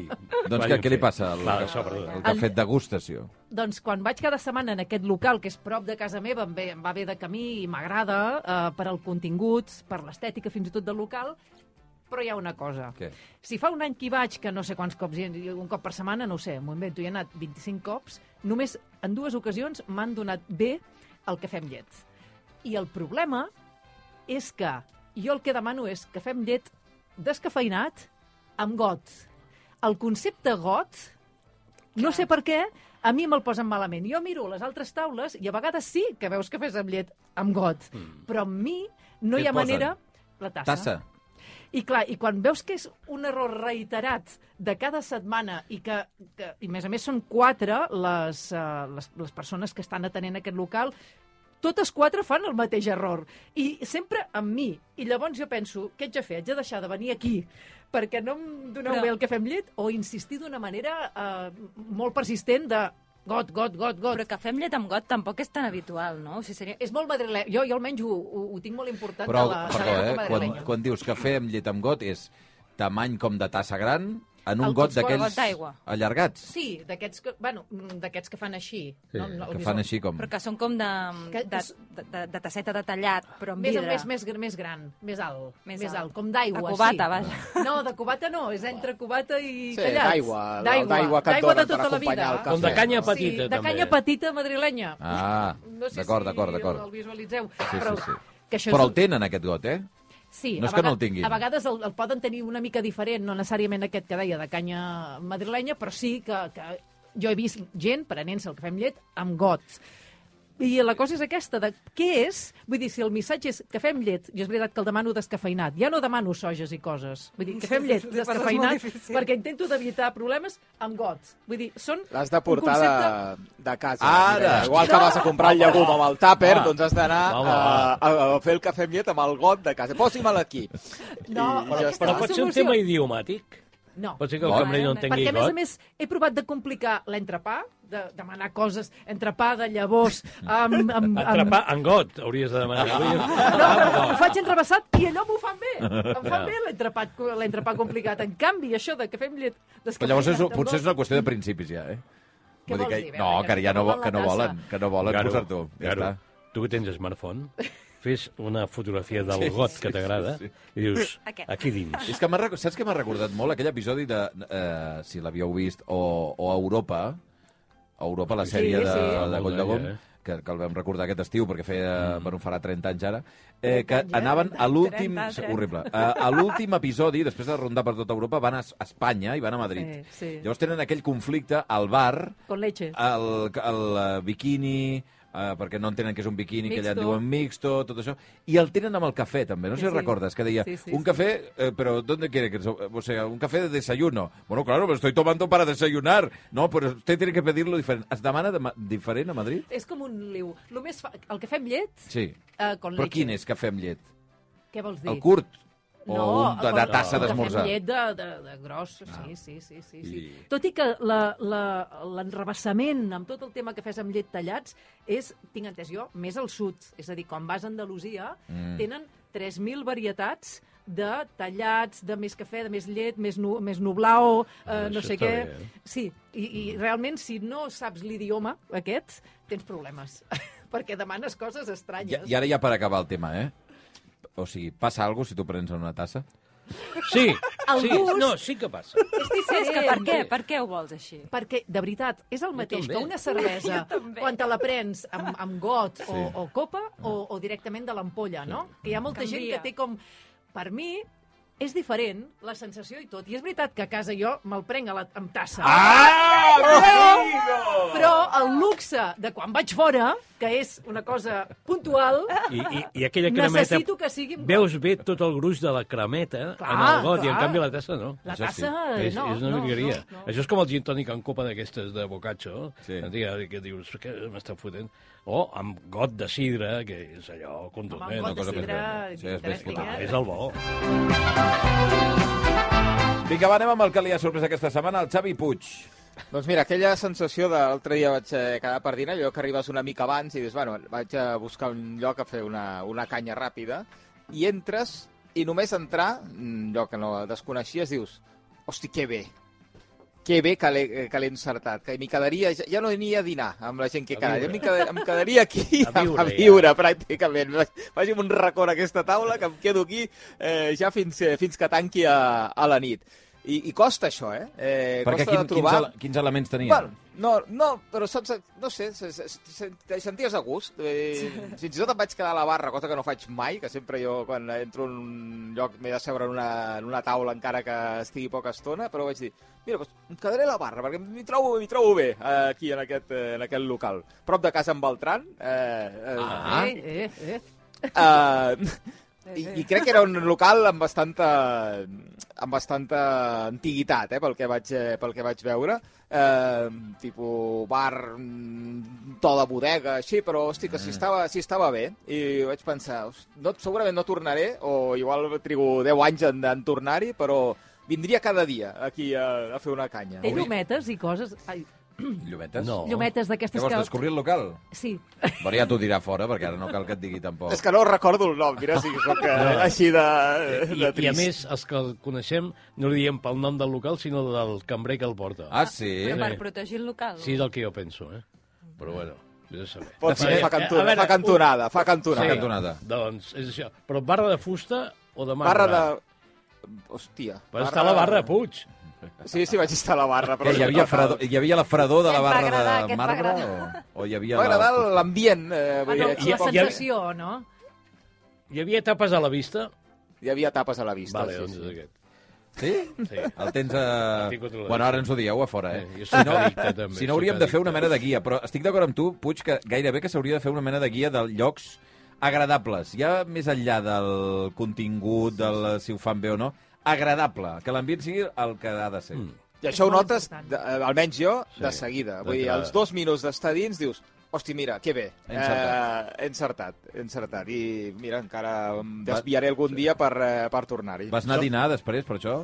Speaker 2: Doncs què, què li passa al,
Speaker 4: Va,
Speaker 2: al,
Speaker 4: això, perdó.
Speaker 2: al
Speaker 5: Ah,
Speaker 2: cafè degustació?
Speaker 5: Doncs quan vaig cada setmana en aquest local, que és prop de casa meva, em, ve, em va bé de camí i m'agrada eh, per al contingut, per l'estètica fins i tot del local, però hi ha una cosa.
Speaker 2: Què?
Speaker 5: Si fa un any que hi vaig, que no sé quants cops, hi he- un cop per setmana, no ho sé, m'ho invento, hi he anat 25 cops, només en dues ocasions m'han donat bé el cafè amb llet. I el problema és que jo el que demano és cafè amb llet descafeinat amb got. El concepte got, no sé per què, a mi me'l posen malament. Jo miro les altres taules i a vegades sí que veus cafès amb llet amb got, però amb mi no
Speaker 2: Mm. Què
Speaker 5: hi ha
Speaker 2: et posen?
Speaker 5: manera... La tassa.
Speaker 2: Tassa.
Speaker 5: I clar, i quan veus que és un error reiterat de cada setmana i que, que i a més a més són quatre les, uh, les, les persones que estan atenent aquest local, totes quatre fan el mateix error. I sempre amb mi. I llavors jo penso, què haig de fer? Haig de deixar de venir aquí perquè no em doneu
Speaker 3: Però-
Speaker 5: Però... bé el que fem llet o insistir d'una manera uh, molt persistent de got, got, got, got.
Speaker 3: Però cafè amb llet amb got tampoc és tan habitual, no? O sigui, seria...
Speaker 5: És molt madrileny. Jo, jo almenys ho, ho, ho tinc molt important
Speaker 2: Però,
Speaker 5: de la,
Speaker 2: perdó,
Speaker 5: de la
Speaker 2: eh? Quan,
Speaker 5: madrilenya.
Speaker 2: quan dius cafè amb llet amb got és tamany com de tassa gran en un
Speaker 5: El
Speaker 2: got
Speaker 5: cos-
Speaker 2: d'aquells
Speaker 3: got d'aigua.
Speaker 2: allargats.
Speaker 5: Sí, d'aquests que, bueno, mm, d'aquests que fan així.
Speaker 2: Sí,
Speaker 5: el
Speaker 2: que
Speaker 5: visor.
Speaker 2: fan així com...
Speaker 3: Però que són com de,
Speaker 5: Que
Speaker 3: de,
Speaker 5: és-
Speaker 3: de, de, de tasseta de tallat, però amb
Speaker 5: Més,
Speaker 3: vidre.
Speaker 5: més, més, més gran, més alt,
Speaker 3: Més
Speaker 5: més, més
Speaker 3: alt.
Speaker 5: alt. com d'aigua.
Speaker 3: De cubata,
Speaker 5: sí.
Speaker 3: vaja.
Speaker 5: No, de cubata no, és entre cubata i
Speaker 6: Sí,
Speaker 5: tallats.
Speaker 6: d'aigua, d'aigua que et
Speaker 5: d'aigua de
Speaker 6: donen per
Speaker 5: tota la
Speaker 6: acompanyar
Speaker 5: vida.
Speaker 6: el cafè.
Speaker 4: Com de canya petita,
Speaker 5: sí, de
Speaker 4: també.
Speaker 5: canya petita madrilenya.
Speaker 2: Ah,
Speaker 5: no sé
Speaker 2: d'acord,
Speaker 5: si
Speaker 2: d'acord,
Speaker 5: El, el
Speaker 2: d'acord.
Speaker 5: visualitzeu.
Speaker 2: Sí,
Speaker 5: però,
Speaker 2: sí, sí.
Speaker 5: Que això
Speaker 2: Però
Speaker 5: és
Speaker 2: el tenen, aquest got, eh?
Speaker 5: Sí,
Speaker 2: No és
Speaker 5: a
Speaker 2: que no
Speaker 5: vega-
Speaker 2: el tinguin.
Speaker 5: A vegades el, el poden tenir una mica diferent, no necessàriament aquest que deia de canya madrilenya, però sí que, que jo he vist gent prenent-se el cafè amb llet amb gots. I la cosa és aquesta, de què és? Vull dir, si el missatge és que fem llet, i és veritat que el demano descafeinat, ja no demano soges i coses. Vull dir, que fem llet
Speaker 1: Sí, sí, sí,
Speaker 5: descafeinat
Speaker 1: passa molt difícil.
Speaker 5: perquè intento d'evitar problemes amb gots. Vull dir, són
Speaker 6: L'has de
Speaker 5: un
Speaker 6: portar
Speaker 5: concepte...
Speaker 6: de, de casa.
Speaker 2: Ara.
Speaker 6: Mireia. Igual que vas a comprar el llegum amb el tàper,
Speaker 4: Va.
Speaker 6: doncs has d'anar
Speaker 4: Va,
Speaker 6: a,
Speaker 4: va,
Speaker 6: a, a fer el cafè amb llet amb el got de casa. Posi'm-me'l aquí.
Speaker 5: No,
Speaker 6: I
Speaker 5: però
Speaker 6: ja
Speaker 5: aquesta
Speaker 6: està.
Speaker 4: Però
Speaker 5: la
Speaker 4: pot ser un
Speaker 5: solució.
Speaker 4: tema idiomàtic.
Speaker 5: No.
Speaker 4: Pot ser que el
Speaker 2: Bueno,
Speaker 4: cambrer no entengui
Speaker 5: Perquè, a més a
Speaker 4: got.
Speaker 5: més, he provat de complicar l'entrepà, de demanar coses, entrepà de llavors, amb... amb, amb...
Speaker 4: Entrepà en got, hauries de demanar.
Speaker 2: Ah.
Speaker 5: No, però ho
Speaker 4: Hauries-
Speaker 5: faig entrevessat i allò m'ho fan bé. Em fan bé l'entrepat l'entrepat complicat. En canvi, això de que fem llet...
Speaker 2: Però llavors és, potser és una qüestió de principis, ja, eh? Vull
Speaker 5: Què
Speaker 2: dir
Speaker 5: vols
Speaker 2: que,
Speaker 5: dir?
Speaker 2: no,
Speaker 5: Veure,
Speaker 2: que ja no, vo- que no
Speaker 5: la
Speaker 2: volen,
Speaker 5: tassa.
Speaker 2: que no volen posar-t'ho. Ja
Speaker 4: Garo,
Speaker 2: està.
Speaker 4: tu que tens smartphone, fes una fotografia del got que t'agrada
Speaker 2: sí,
Speaker 4: i dius,
Speaker 3: Aquest.
Speaker 4: aquí dins.
Speaker 2: És que m'ha rec- saps que m'ha recordat molt aquell episodi de, eh, si l'havíeu vist, o, o Europa, a Europa, la
Speaker 4: Sí,
Speaker 2: sèrie de,
Speaker 5: sí.
Speaker 2: de
Speaker 4: Molt
Speaker 2: Coll de Gom,
Speaker 4: d'ella, eh?
Speaker 2: que, que el vam recordar aquest estiu, perquè feia, mm. bueno, farà 30 anys ara, eh, que
Speaker 3: 30 anys,
Speaker 2: anaven a l'últim...
Speaker 3: 30, 30.
Speaker 2: Horrible. Eh, a l'últim episodi, després de rondar per tota Europa, van a Es- a Espanya i van a Madrid.
Speaker 5: Sí, sí.
Speaker 2: Llavors tenen aquell conflicte al bar,
Speaker 5: Con leche.
Speaker 2: Ah. el, el eh, biquini, eh, perquè no entenen que és un biquini, que allà en
Speaker 5: Mixto.
Speaker 2: diuen mixto, tot això. I el tenen amb el cafè, també. No sé si
Speaker 5: Sí, sí.
Speaker 2: recordes, que deia,
Speaker 5: Sí, sí,
Speaker 2: un
Speaker 5: sí.
Speaker 2: cafè, eh, però ¿dónde quiere que... so- O sea, un cafè de desayuno. Bueno, claro, me lo estoy tomando para desayunar. No, pero usted tiene que pedirlo diferente. Es demana de ma- diferent a Madrid?
Speaker 5: És com un liu. Lo més fa... El que fem llet,
Speaker 2: Sí.
Speaker 5: eh, con leche.
Speaker 2: Però quin és cafè amb llet?
Speaker 5: Què vols dir?
Speaker 2: El curt? O
Speaker 5: No,
Speaker 2: un de,
Speaker 5: el
Speaker 2: de
Speaker 5: col-
Speaker 2: tassa
Speaker 5: el que
Speaker 2: d'esmorzar? Ah.
Speaker 5: fem llet de, de, de gros, sí, sí, sí. sí, sí.
Speaker 2: I-
Speaker 5: Tot i que la- la- l'enrebaçament amb tot el tema que fes amb llet tallats és, tinc entès jo, més al sud. És a dir, quan vas a Andalusia, mm. tenen 3.000 varietats de tallats, de més cafè, de més llet, més, nu, més nublao, eh,
Speaker 4: Ah,
Speaker 5: no
Speaker 4: això
Speaker 5: sé
Speaker 4: està
Speaker 5: què.
Speaker 4: bé, eh?
Speaker 5: Sí, i, i realment, si no saps l'idioma aquest, tens problemes, perquè demanes coses
Speaker 2: I,
Speaker 5: estranyes.
Speaker 2: I ara ja per acabar el tema, eh? O sigui, passa alguna cosa si tu prens en una tassa?
Speaker 4: Sí,
Speaker 5: El
Speaker 4: sí,
Speaker 5: gust-
Speaker 4: no, sí que passa.
Speaker 5: És
Speaker 3: Sí, és que per què?
Speaker 5: diferent.
Speaker 3: Per què ho vols així?
Speaker 5: Perquè, de veritat, és el mateix
Speaker 4: també.
Speaker 5: que una cervesa
Speaker 3: també.
Speaker 5: quan te la prens amb, amb got o,
Speaker 2: Sí.
Speaker 5: o copa o,
Speaker 4: Ah.
Speaker 5: o directament de l'ampolla, no? Que hi ha molta gent
Speaker 3: Canvia.
Speaker 5: que té com... Per mi, és diferent la sensació i tot. I és veritat que a casa jo me'l prenc a la, amb tassa.
Speaker 6: Ah!
Speaker 5: Però el luxe de quan vaig fora, que és una cosa puntual,
Speaker 4: I, i, i aquella cremeta...
Speaker 5: necessito que sigui amb
Speaker 4: Veus bé tot el gruix de la cremeta
Speaker 5: Clar,
Speaker 4: en el got i, en
Speaker 5: clar.
Speaker 4: canvi, la tassa no.
Speaker 5: La
Speaker 4: Això sí.
Speaker 5: tassa,
Speaker 4: és,
Speaker 5: no,
Speaker 4: És una
Speaker 5: no,
Speaker 4: virgueria.
Speaker 5: no, no.
Speaker 4: Això és com el gin tònic en copa d'aquestes de bocatxo,
Speaker 2: Sí.
Speaker 4: sí. que dius, que m'està fotent? O amb got de sidra, que és allò
Speaker 5: Home,
Speaker 4: contundent.
Speaker 5: amb got
Speaker 4: eh, una cosa
Speaker 5: de
Speaker 4: més
Speaker 5: sidra,
Speaker 4: gran.
Speaker 2: Sí, és més
Speaker 5: interesting,
Speaker 2: potent.
Speaker 5: eh?
Speaker 4: És el bo.
Speaker 2: Vinga, va, anem amb el que li ha sorprès aquesta setmana, el Xavi Puig.
Speaker 6: Doncs mira, aquella sensació de l'altre dia vaig eh, quedar per dinar, allò que arribes una mica abans i dius, bueno, vaig a buscar un lloc a fer una, una canya ràpida, i entres, i només entrar, mm, allò que no desconeixies, dius, hosti, que bé, que bé que l'he eh, que l'he encertat, que m'hi quedaria, ja- ja no aniria a dinar amb la gent
Speaker 4: A
Speaker 6: que he quedat, ja
Speaker 4: viure.
Speaker 6: m'hi quedaria, em quedaria aquí
Speaker 4: A viure,
Speaker 6: a viure, a,
Speaker 4: ja.
Speaker 6: viure pràcticament. Vaig, vaig amb un racó en aquesta taula que em quedo aquí eh, ja fins, eh, fins que tanqui a, a la nit. I, I costa això, eh? eh
Speaker 2: Perquè
Speaker 6: costa
Speaker 2: quin,
Speaker 6: de
Speaker 2: quins,
Speaker 6: trobar...
Speaker 2: ele quins elements tenia?
Speaker 6: Bueno, no, no, però saps, no sé, se- se- se- te senties a gust. Eh, fins i tot em vaig quedar a la barra, cosa que no faig mai, que sempre jo quan entro en un lloc m'he de seure en una, en una taula encara que estigui poca estona, però vaig dir, mira, doncs em quedaré a la barra, perquè m'hi trobo, m'hi trobo bé eh, aquí en aquest, eh, en aquest local. Prop de casa en Beltran, eh, eh, ah.
Speaker 2: Ah.
Speaker 5: Eh, eh, eh.
Speaker 6: eh, i, i crec que era un local amb bastanta, amb bastanta antiguitat, eh, pel, que vaig, eh, pel que vaig veure eh, tipus bar, mm, to de bodega, així, però, hosti,
Speaker 4: Eh.
Speaker 6: que si estava, si estava bé. I vaig pensar, "Host, no, segurament no tornaré, o igual trigo 10 anys en, en tornar-hi, però vindria cada dia aquí a, a fer una canya.
Speaker 5: Té llumetes i coses... Ai,
Speaker 2: Llumetes?
Speaker 4: No.
Speaker 5: llumetes
Speaker 2: Què
Speaker 5: d'aquestes
Speaker 2: vols,
Speaker 5: que...
Speaker 2: descobrir el local?
Speaker 5: Sí,
Speaker 2: Bueno, ja t'ho dirà fora, perquè ara no cal que et digui tampoc.
Speaker 6: És que no recordo el nom, mira, si sóc eh, així de,
Speaker 4: I,
Speaker 6: de
Speaker 4: I, a
Speaker 6: trist.
Speaker 4: més, els que el coneixem no li diem pel nom del local, sinó del cambrer que el porta.
Speaker 2: Ah, sí? doncs.
Speaker 3: Però per
Speaker 4: Sí.
Speaker 3: protegir el local?
Speaker 4: Sí, és el que jo penso, eh? Però bueno, vés a saber.
Speaker 6: Pot ser,
Speaker 4: Eh,
Speaker 6: fa,
Speaker 4: a
Speaker 6: cantona,
Speaker 4: veure,
Speaker 6: fa cantonada, fa
Speaker 2: Una
Speaker 6: cantonada.
Speaker 2: cantonada.
Speaker 4: Doncs és això. Però barra de fusta o de marbre?
Speaker 6: Barra de... Hòstia.
Speaker 4: Vas estar a la barra Puig.
Speaker 6: Sí, sí, vaig estar a la barra.
Speaker 2: Però
Speaker 6: Però
Speaker 2: hi havia, fredor, hi havia la fredor de la
Speaker 3: Què et va
Speaker 2: barra
Speaker 3: agradar, què
Speaker 2: de
Speaker 3: et va
Speaker 2: marbre?
Speaker 3: agradar?
Speaker 2: O, o hi havia...
Speaker 6: M'ha agradat
Speaker 2: la...
Speaker 6: l'ambient. Eh,
Speaker 5: ah,
Speaker 6: vull
Speaker 5: no,
Speaker 6: dir, aquí
Speaker 5: la
Speaker 6: a poc-
Speaker 5: sensació, no?
Speaker 4: Hi havia tapes a la vista?
Speaker 6: Hi havia tapes a la vista.
Speaker 4: vale,
Speaker 6: sí,
Speaker 4: doncs és
Speaker 6: sí.
Speaker 2: Eh.
Speaker 4: aquest.
Speaker 2: Sí?
Speaker 4: Sí.
Speaker 2: El tens a...
Speaker 4: El tinc controlat.
Speaker 2: Bueno, ara ens ho dieu a fora, eh?
Speaker 4: Eh, jo
Speaker 2: eh
Speaker 4: soc
Speaker 2: si no,
Speaker 4: addicte, també,
Speaker 2: si no
Speaker 4: soc
Speaker 2: hauríem de fer una
Speaker 4: addicte.
Speaker 2: mena de guia, però estic d'acord amb tu, Puig, que gairebé que s'hauria de fer una mena de guia de llocs agradables, ja més enllà del contingut, de la, si ho fan bé o no, agradable, que l'ambient sigui el que ha de ser. Mm.
Speaker 6: I
Speaker 5: És
Speaker 6: això ho
Speaker 5: molt
Speaker 6: notes,
Speaker 5: important.
Speaker 6: de, eh, almenys jo,
Speaker 4: Sí,
Speaker 6: de seguida. Vull dir,
Speaker 4: d'entrada.
Speaker 6: als dos minuts d'estar dins dius, hosti, mira, que bé.
Speaker 2: He encertat.
Speaker 6: Eh, he encertat, he encertat. I mira, encara em desviaré algun dia per, eh, per tornar-hi.
Speaker 2: Vas anar a dinar després, per això?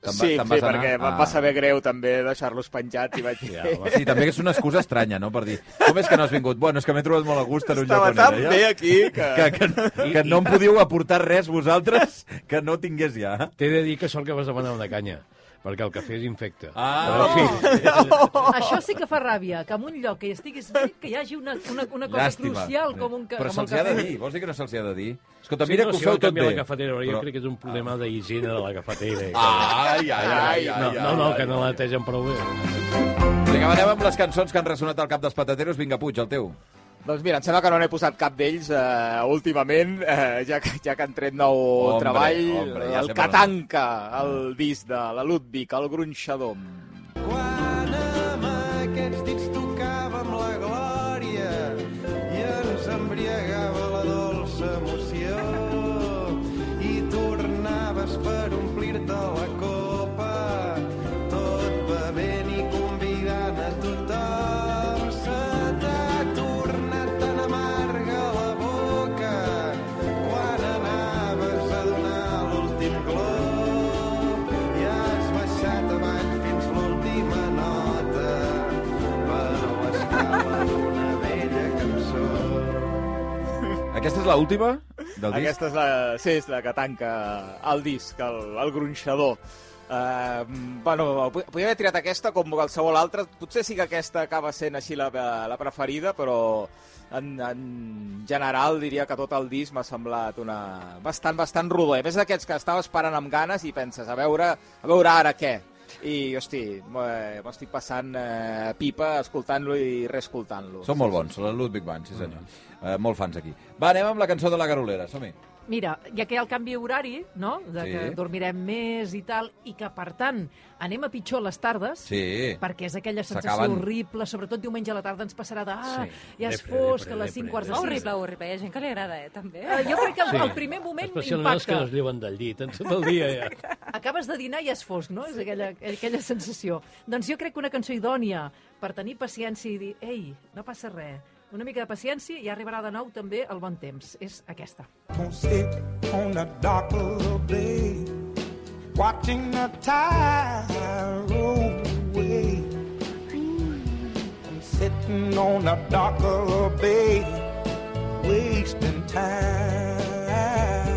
Speaker 2: Te'n va-
Speaker 6: Sí,
Speaker 2: te'n
Speaker 6: sí
Speaker 2: vas anar? Ah.
Speaker 6: perquè em va saber greu també deixar-los penjats i vaig dir...
Speaker 4: Ja,
Speaker 6: Ja,
Speaker 4: home,
Speaker 2: Sí, també és una excusa estranya, no?, per dir, com és que no has vingut? Bueno, és que m'he trobat molt a gust en un lloc
Speaker 6: Estava
Speaker 2: on
Speaker 6: tan
Speaker 2: era,
Speaker 6: bé
Speaker 2: ja.
Speaker 6: aquí que...
Speaker 2: Que, que, que no em podíeu aportar res vosaltres que no tingués ja.
Speaker 4: T'he de dir que sort que vas demanar una canya, perquè el cafè és infecte.
Speaker 2: Ah.
Speaker 4: Però, en fi,
Speaker 5: Això sí que fa ràbia, que en un lloc que hi estiguis bé, que hi hagi una, una, una cosa
Speaker 2: Llàstima.
Speaker 5: crucial com un ca-
Speaker 2: Però
Speaker 5: com el
Speaker 2: se'ls hi ha de
Speaker 5: cafè.
Speaker 2: dir, vols dir que no se'ls hi ha de dir? Escolta,
Speaker 4: Sí,
Speaker 2: mira
Speaker 4: no,
Speaker 2: que ho
Speaker 4: si
Speaker 2: feu
Speaker 4: van
Speaker 2: tot
Speaker 4: canviar
Speaker 2: bé.
Speaker 4: La cafetera, però... Jo crec que és un problema d'higiene de la cafetera.
Speaker 2: Ai, ai, ai, ai,
Speaker 4: no,
Speaker 2: ai,
Speaker 4: no, no,
Speaker 2: ai,
Speaker 4: que no
Speaker 2: ai.
Speaker 4: la netegen prou bé.
Speaker 2: Vinga, anem amb les cançons que han ressonat al cap dels patateros. Vinga, Puig, el teu.
Speaker 6: Doncs mira, em sembla que no n'he posat cap d'ells eh, últimament, eh, ja, que, ja que han tret nou
Speaker 2: Hombre,
Speaker 6: treball,
Speaker 2: hombre, ja
Speaker 6: el
Speaker 2: sé per
Speaker 6: que
Speaker 2: on.
Speaker 6: tanca el disc de la Ludwig, el gronxador.
Speaker 1: Quan amb aquests dits tocàvem la glòria i ens embriagava la dolça emoció i tornaves per omplir-te la copa tot bevent i convidant a tothom se t'ha tornat tan amarga la boca quan anaves a donar l'últim glop i has baixat avall fins l'última nota per l'escala d'una vella cançó.
Speaker 2: Aquesta és l'última del disc?
Speaker 6: Aquesta és la, sí, és la que tanca el disc, el, el gronxador. Uh, bueno, po- podria haver tirat aquesta com qualsevol altra. Potser sí que aquesta acaba sent així la, la preferida, però en, en general diria que tot el disc m'ha semblat una... bastant, bastant rodó. A més d'aquests que estava esperant amb ganes i penses, a veure, a veure ara què. I, hosti, m'ho eh, m'ho estic passant eh, pipa escoltant-lo i reescoltant-lo.
Speaker 2: Són molt bons, la Ludwig Band, sí senyor. Eh, molt fans aquí. Va, anem amb la cançó de la Garolera, som-hi.
Speaker 5: Mira, ja que hi ha el canvi horari, no?, de
Speaker 2: Sí.
Speaker 5: que dormirem més i tal, i que, per tant, anem a pitjor les tardes,
Speaker 2: Sí.
Speaker 5: perquè és aquella sensació
Speaker 2: S'acaben.
Speaker 5: horrible, sobretot diumenge a la tarda ens passarà de... Ah,
Speaker 4: Sí.
Speaker 5: ja és
Speaker 4: Depre,
Speaker 5: fosc,
Speaker 4: depre,
Speaker 5: a les 5
Speaker 4: depre,
Speaker 5: quarts de
Speaker 4: depre.
Speaker 5: 6.
Speaker 3: Horrible, horrible. Hi ha gent que li agrada, eh, també.
Speaker 5: Eh, jo crec que el,
Speaker 4: Sí.
Speaker 5: el primer moment
Speaker 4: Especialment els que
Speaker 5: impacta.
Speaker 4: no es lleven del llit, en tot el dia ja.
Speaker 5: Acabes de dinar i és fosc, no? És aquella, aquella sensació. Doncs jo crec que una cançó idònia per tenir paciència i dir ei, no passa res, una mica de paciència i arribarà de nou també el bon temps. És aquesta.
Speaker 1: Gonna sit on the dock of the bay, watching the tide roll away. I'm sitting on the dock of the bay, wasting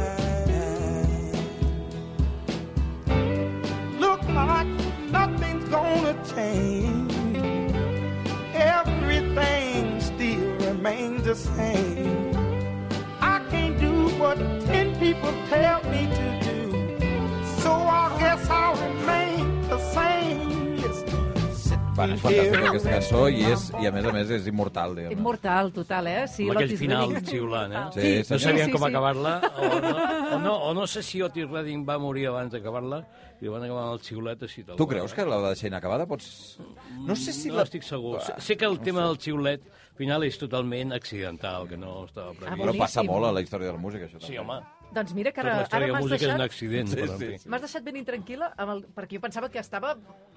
Speaker 1: time. Look like nothing's gonna change. Everything still remains the same. I can't do what ten people tell me to do. So I guess I'll remain the same. Yes.
Speaker 2: Bueno, és fantàstica aquesta cançó i, és, i a més a més és immortal, diguem
Speaker 5: Immortal, total, eh? Sí,
Speaker 4: Amb aquell
Speaker 5: l'Otis
Speaker 4: final
Speaker 5: Redding.
Speaker 4: xiulant, eh?
Speaker 2: Sí,
Speaker 4: no
Speaker 2: senyor.
Speaker 4: sabien
Speaker 5: Sí,
Speaker 4: com
Speaker 5: sí.
Speaker 4: acabar-la, o, no, o, no, o no sé si Otis Redding va morir abans d'acabar-la, i van acabar amb el xiulet així. tal
Speaker 2: Tu
Speaker 4: qual,
Speaker 2: creus
Speaker 4: eh?
Speaker 2: que la deixa inacabada pots... No sé si
Speaker 4: no
Speaker 2: la...
Speaker 4: estic segur. Sé, sé que el tema del xiulet final és totalment accidental, que no estava previst.
Speaker 2: Però passa
Speaker 5: Boníssim.
Speaker 2: molt a la història de la música, això.
Speaker 4: Sí,
Speaker 2: també.
Speaker 4: home,
Speaker 5: Doncs mira que
Speaker 4: tota
Speaker 5: ara,
Speaker 4: la
Speaker 5: ara
Speaker 4: història de
Speaker 5: m'has
Speaker 4: música és un
Speaker 5: deixat...
Speaker 4: accident.
Speaker 2: Sí,
Speaker 4: però, en
Speaker 2: sí,
Speaker 4: fi.
Speaker 2: sí.
Speaker 5: M'has deixat ben intranquil·la, amb el... perquè jo pensava que estava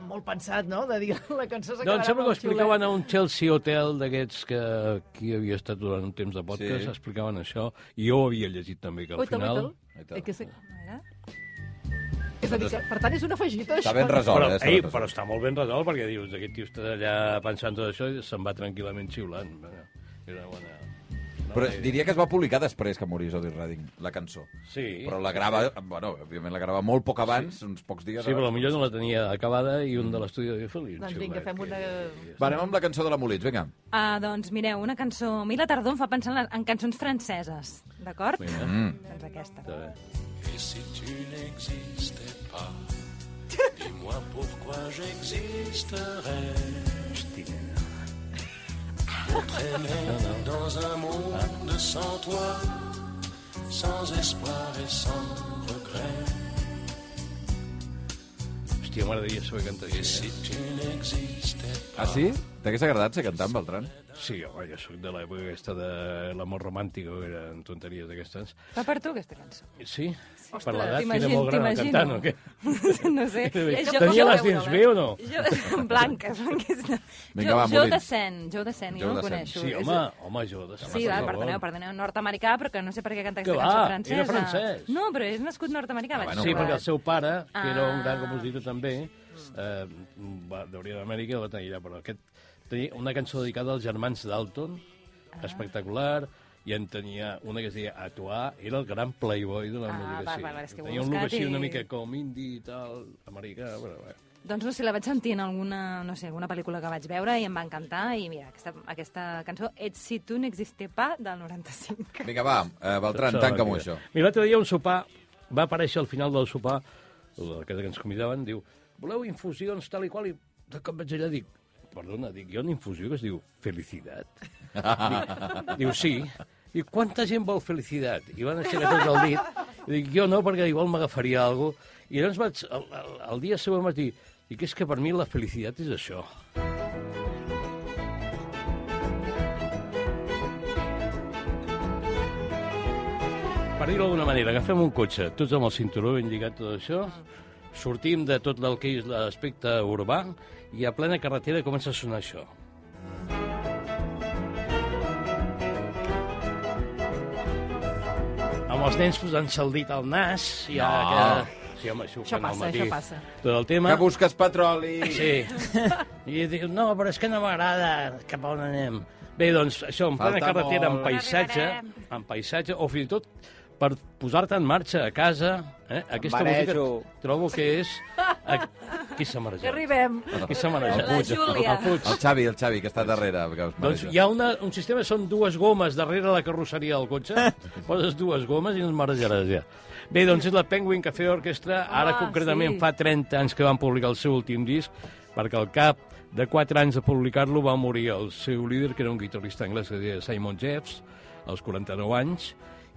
Speaker 5: molt pensat, no?, de dir la cançó s'acabarà
Speaker 4: No, Doncs em sembla que
Speaker 5: amb el
Speaker 4: explicaven
Speaker 5: xiulet.
Speaker 4: a un Chelsea Hotel d'aquests que aquí havia estat durant un temps de podcast,
Speaker 2: Sí.
Speaker 4: sí. explicaven això, i jo ho havia llegit també, que al
Speaker 5: Oital,
Speaker 4: final...
Speaker 5: oital.
Speaker 2: I tal.
Speaker 5: Eh, Que sí.
Speaker 3: Mira.
Speaker 5: És a dir, que, per tant, és una afegita, això.
Speaker 2: Està ben resolt,
Speaker 4: Però,
Speaker 2: eh? Està
Speaker 4: ei,
Speaker 2: ben
Speaker 4: però
Speaker 2: resolt.
Speaker 4: està molt ben resolt, perquè dius, aquest tio està allà pensant tot això i se'n va tranquil·lament xiulant. Bueno, Era una bona... una
Speaker 2: Però
Speaker 4: bona idea.
Speaker 2: diria que es va publicar després que morís Otis Redding, la cançó.
Speaker 4: Sí,
Speaker 2: Però la grava, bueno, òbviament la grava molt poc abans, uns pocs dies
Speaker 4: sí, però
Speaker 2: abans.
Speaker 4: potser no la tenia acabada i un de l'estudi de Feliu.
Speaker 5: Doncs vinga, fem una...
Speaker 2: Va, anem amb la cançó de la Molins, vinga.
Speaker 3: Ah, doncs mireu, una cançó... A mi la tardor em fa pensar en, les, en cançons franceses, d'acord?
Speaker 4: Mm.
Speaker 3: Doncs aquesta.
Speaker 7: Et si tu n'existais pas, dis-moi pourquoi j'existerais. M'entraîner dans un monde sans toi, sans espoir et sans regret.
Speaker 4: Hòstia, m'agradaria saber cantar
Speaker 7: Et
Speaker 4: això.
Speaker 7: si tu n'existais
Speaker 2: Ah, sí? T'hagués agradat ser cantant, Beltran?
Speaker 4: Sí, home, jo soc de l'època aquesta de l'amor romàntic, o eren tonteries d'aquestes.
Speaker 3: Va per tu, aquesta cançó.
Speaker 4: Sí?
Speaker 3: Ostres,
Speaker 4: per l'edat, quina
Speaker 3: t'imagino,
Speaker 4: molt gran el
Speaker 3: t'imagino.
Speaker 4: cantant, o què?
Speaker 3: no sé. Eh, jo-
Speaker 4: Tenia
Speaker 3: jo-
Speaker 4: les dents bé o no?
Speaker 3: Jo, blanques, blanques. No.
Speaker 2: Vinga,
Speaker 3: jo,
Speaker 2: va,
Speaker 3: jo
Speaker 2: Molins.
Speaker 3: decent, jo decent,
Speaker 2: Jo
Speaker 3: jo no el
Speaker 2: decent.
Speaker 3: coneixo.
Speaker 4: Sí,
Speaker 3: És-
Speaker 4: home, home, jo... De
Speaker 3: Sí, va, perdoneu, perdoneu, nord-americà, però que no sé per què canta aquesta
Speaker 4: Que
Speaker 3: cançó
Speaker 4: va,
Speaker 3: francesa.
Speaker 4: era francès.
Speaker 3: No, però és nascut nord-americà. vaig
Speaker 2: bueno,
Speaker 4: Sí,
Speaker 3: trobar.
Speaker 4: perquè el seu pare, que era un gran
Speaker 3: Ah.
Speaker 4: compositor també, eh, va- d'Hauria d'Amèrica, va tenir allà, però aquest tenia una cançó dedicada als germans Dalton,
Speaker 3: Ah.
Speaker 4: espectacular, i en tenia una que es deia Atuà, era el gran playboy de la
Speaker 3: Ah,
Speaker 4: música.
Speaker 3: va, va, va, és que ho he
Speaker 4: tenia un look
Speaker 3: buscat
Speaker 4: així una
Speaker 3: i-
Speaker 4: mica com indi i tal, americà, però bé.
Speaker 3: Doncs no sé, la vaig sentir en alguna, no sé, alguna pel·lícula que vaig veure i em va encantar. I mira, aquesta, aquesta cançó, Et si tu n'existe pas, del 95.
Speaker 2: Vinga, va, eh, Beltran, tanca-m'ho, això.
Speaker 4: Mira, l'altre dia un sopar, va aparèixer al final del sopar, el que ens convidaven, diu, voleu infusions tal i qual, i de cop vaig allà i dic, perdona, dic, hi ha una infusió que es diu felicitat. diu, diu, sí. I quanta gent vol felicitat? I van aixecar tots el dit. I dic, jo no, perquè igual m'agafaria alguna cosa. I llavors vaig, el, el, el dia següent vaig dir, dic, és que per mi la felicitat és això. Per dir-ho d'alguna manera, agafem un cotxe, tots amb el cinturó ben lligat, tot això, sortim de tot el que és l'aspecte urbà i a plena carretera comença a sonar això. Amb els nens posant-se el dit al nas i no.
Speaker 2: No.
Speaker 4: que... Sí, home, això, ho
Speaker 5: Això
Speaker 4: fan al
Speaker 5: passa,
Speaker 4: matí.
Speaker 5: això passa.
Speaker 4: Tot el tema...
Speaker 2: Que busques petroli!
Speaker 4: Sí. I diu, no, però és que no m'agrada cap a on anem. Bé, doncs, això, en plena
Speaker 2: Falta
Speaker 4: carretera, en
Speaker 2: molt.
Speaker 4: paisatge, en paisatge, o fins i tot per posar-te en marxa a casa, eh? aquesta música
Speaker 6: marejo.
Speaker 4: trobo que és... A... Qui s'ha marejat?
Speaker 5: Que arribem.
Speaker 4: Qui s'ha marejat?
Speaker 3: La Júlia.
Speaker 4: El Puig.
Speaker 2: El Xavi, el Xavi, que està darrere. Que us
Speaker 4: Doncs
Speaker 2: mareja.
Speaker 4: hi ha una, un sistema, són dues gomes darrere la carrosseria del cotxe, poses dues gomes i no et marejaràs ja. Bé, doncs és la Penguin Café Orchestra, ara
Speaker 5: Ah,
Speaker 4: concretament
Speaker 5: sí.
Speaker 4: fa 30 anys que van publicar el seu últim disc, perquè al cap de 4 anys de publicar-lo va morir el seu líder, que era un guitarrista anglès que es deia Simon Jeffs, als 49 anys,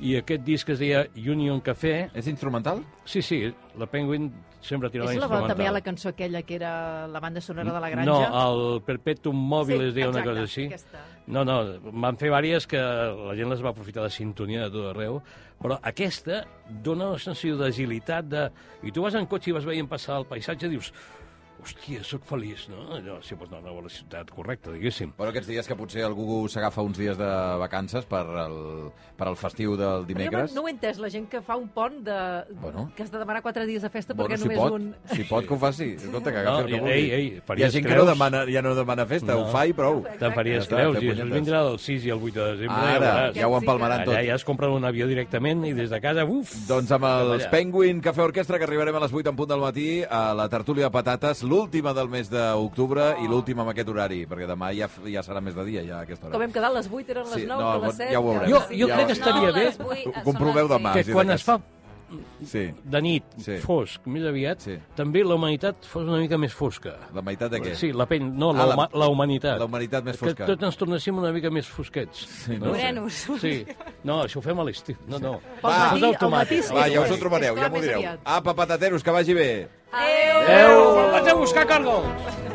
Speaker 4: i aquest disc es deia Union Café.
Speaker 2: És instrumental?
Speaker 4: Sí, sí, la Penguin sempre tirava
Speaker 5: És la
Speaker 4: instrumental.
Speaker 5: bona també a la cançó aquella que era la banda sonora de la granja?
Speaker 4: No, el Perpetuum Mòbil
Speaker 5: Sí,
Speaker 4: es deia una
Speaker 5: exacte,
Speaker 4: cosa així.
Speaker 5: aquesta.
Speaker 4: No, no, van fer vàries que la gent les va aprofitar de sintonia de tot arreu, però aquesta dona una sensació d'agilitat, de... i tu vas en cotxe i vas veient passar el paisatge i dius hòstia, sóc feliç, no? Allò, si pots anar a la ciutat correcta, diguéssim.
Speaker 2: Bueno, aquests dies que potser algú s'agafa uns dies de vacances per el, per el festiu del
Speaker 5: Però
Speaker 2: dimecres.
Speaker 5: Jo no ho he entès, la gent que fa un pont de...
Speaker 2: Bueno.
Speaker 5: que has de demanar quatre dies de festa
Speaker 2: Bueno,
Speaker 5: perquè
Speaker 2: si
Speaker 5: només
Speaker 2: pot,
Speaker 5: un...
Speaker 2: si pot que ho faci. Escolta, que
Speaker 4: No,
Speaker 2: agafi el
Speaker 4: ei,
Speaker 2: que vulgui.
Speaker 4: ei,
Speaker 2: Hi ha
Speaker 4: faries
Speaker 2: gent que
Speaker 4: creus?
Speaker 2: no demana, ja no demana festa,
Speaker 4: No.
Speaker 2: ho fa i prou.
Speaker 4: Te'n faries
Speaker 2: Ja està,
Speaker 4: creus,
Speaker 2: fer
Speaker 4: i
Speaker 2: punyetes.
Speaker 4: després vindrà el 6 i el 8 de desembre.
Speaker 2: Ara,
Speaker 4: veuràs.
Speaker 2: ja ho empalmaran
Speaker 4: Allà
Speaker 2: tot.
Speaker 4: ja es compren un avió directament i des de casa, uf!
Speaker 2: Doncs amb els
Speaker 4: Allà.
Speaker 2: Penguin Cafè Orquestra, que arribarem a les 8 en punt del matí, a la tertúlia de patates, l'última del mes d'octubre i l'última amb aquest horari, perquè demà ja, ja serà més de dia, ja a aquesta
Speaker 5: Com
Speaker 2: hora.
Speaker 5: hem quedat, les 8 eren les
Speaker 2: Sí,
Speaker 5: 9,
Speaker 2: no,
Speaker 5: que les
Speaker 2: ja
Speaker 5: 7...
Speaker 2: ho veurem.
Speaker 4: Jo, jo
Speaker 2: Ja
Speaker 4: crec
Speaker 2: ho-
Speaker 4: que estaria bé
Speaker 3: les vuit, eh,
Speaker 2: Ho
Speaker 3: són
Speaker 2: comproveu
Speaker 3: les
Speaker 2: demà.
Speaker 4: que
Speaker 2: si de
Speaker 4: quan
Speaker 2: cas.
Speaker 4: es fa
Speaker 2: Sí.
Speaker 4: de nit,
Speaker 2: Sí.
Speaker 4: sí. fosc, més aviat,
Speaker 2: Sí.
Speaker 4: sí. també la humanitat fos una mica més fosca.
Speaker 2: La meitat de què?
Speaker 4: Sí, la pell, no, la,
Speaker 2: Ah, la-
Speaker 4: la, huma, la humanitat.
Speaker 2: la humanitat més fosca.
Speaker 4: Que tots ens tornéssim una mica més fosquets. Sí,
Speaker 2: no?
Speaker 3: Morenos.
Speaker 4: Sí. No, això ho fem a l'estiu. No, no.
Speaker 5: Pel
Speaker 2: Va.
Speaker 4: Tot
Speaker 5: matí, al matí...
Speaker 4: automàtic.
Speaker 5: sí,
Speaker 2: Va, ja us
Speaker 5: és-
Speaker 2: ho trobareu, ja
Speaker 5: és clar,
Speaker 2: m'ho
Speaker 5: més
Speaker 2: direu.
Speaker 5: aviat.
Speaker 2: Apa, patateros, que vagi bé.
Speaker 3: Adéu!
Speaker 4: Adéu! Vaig a buscar cargols!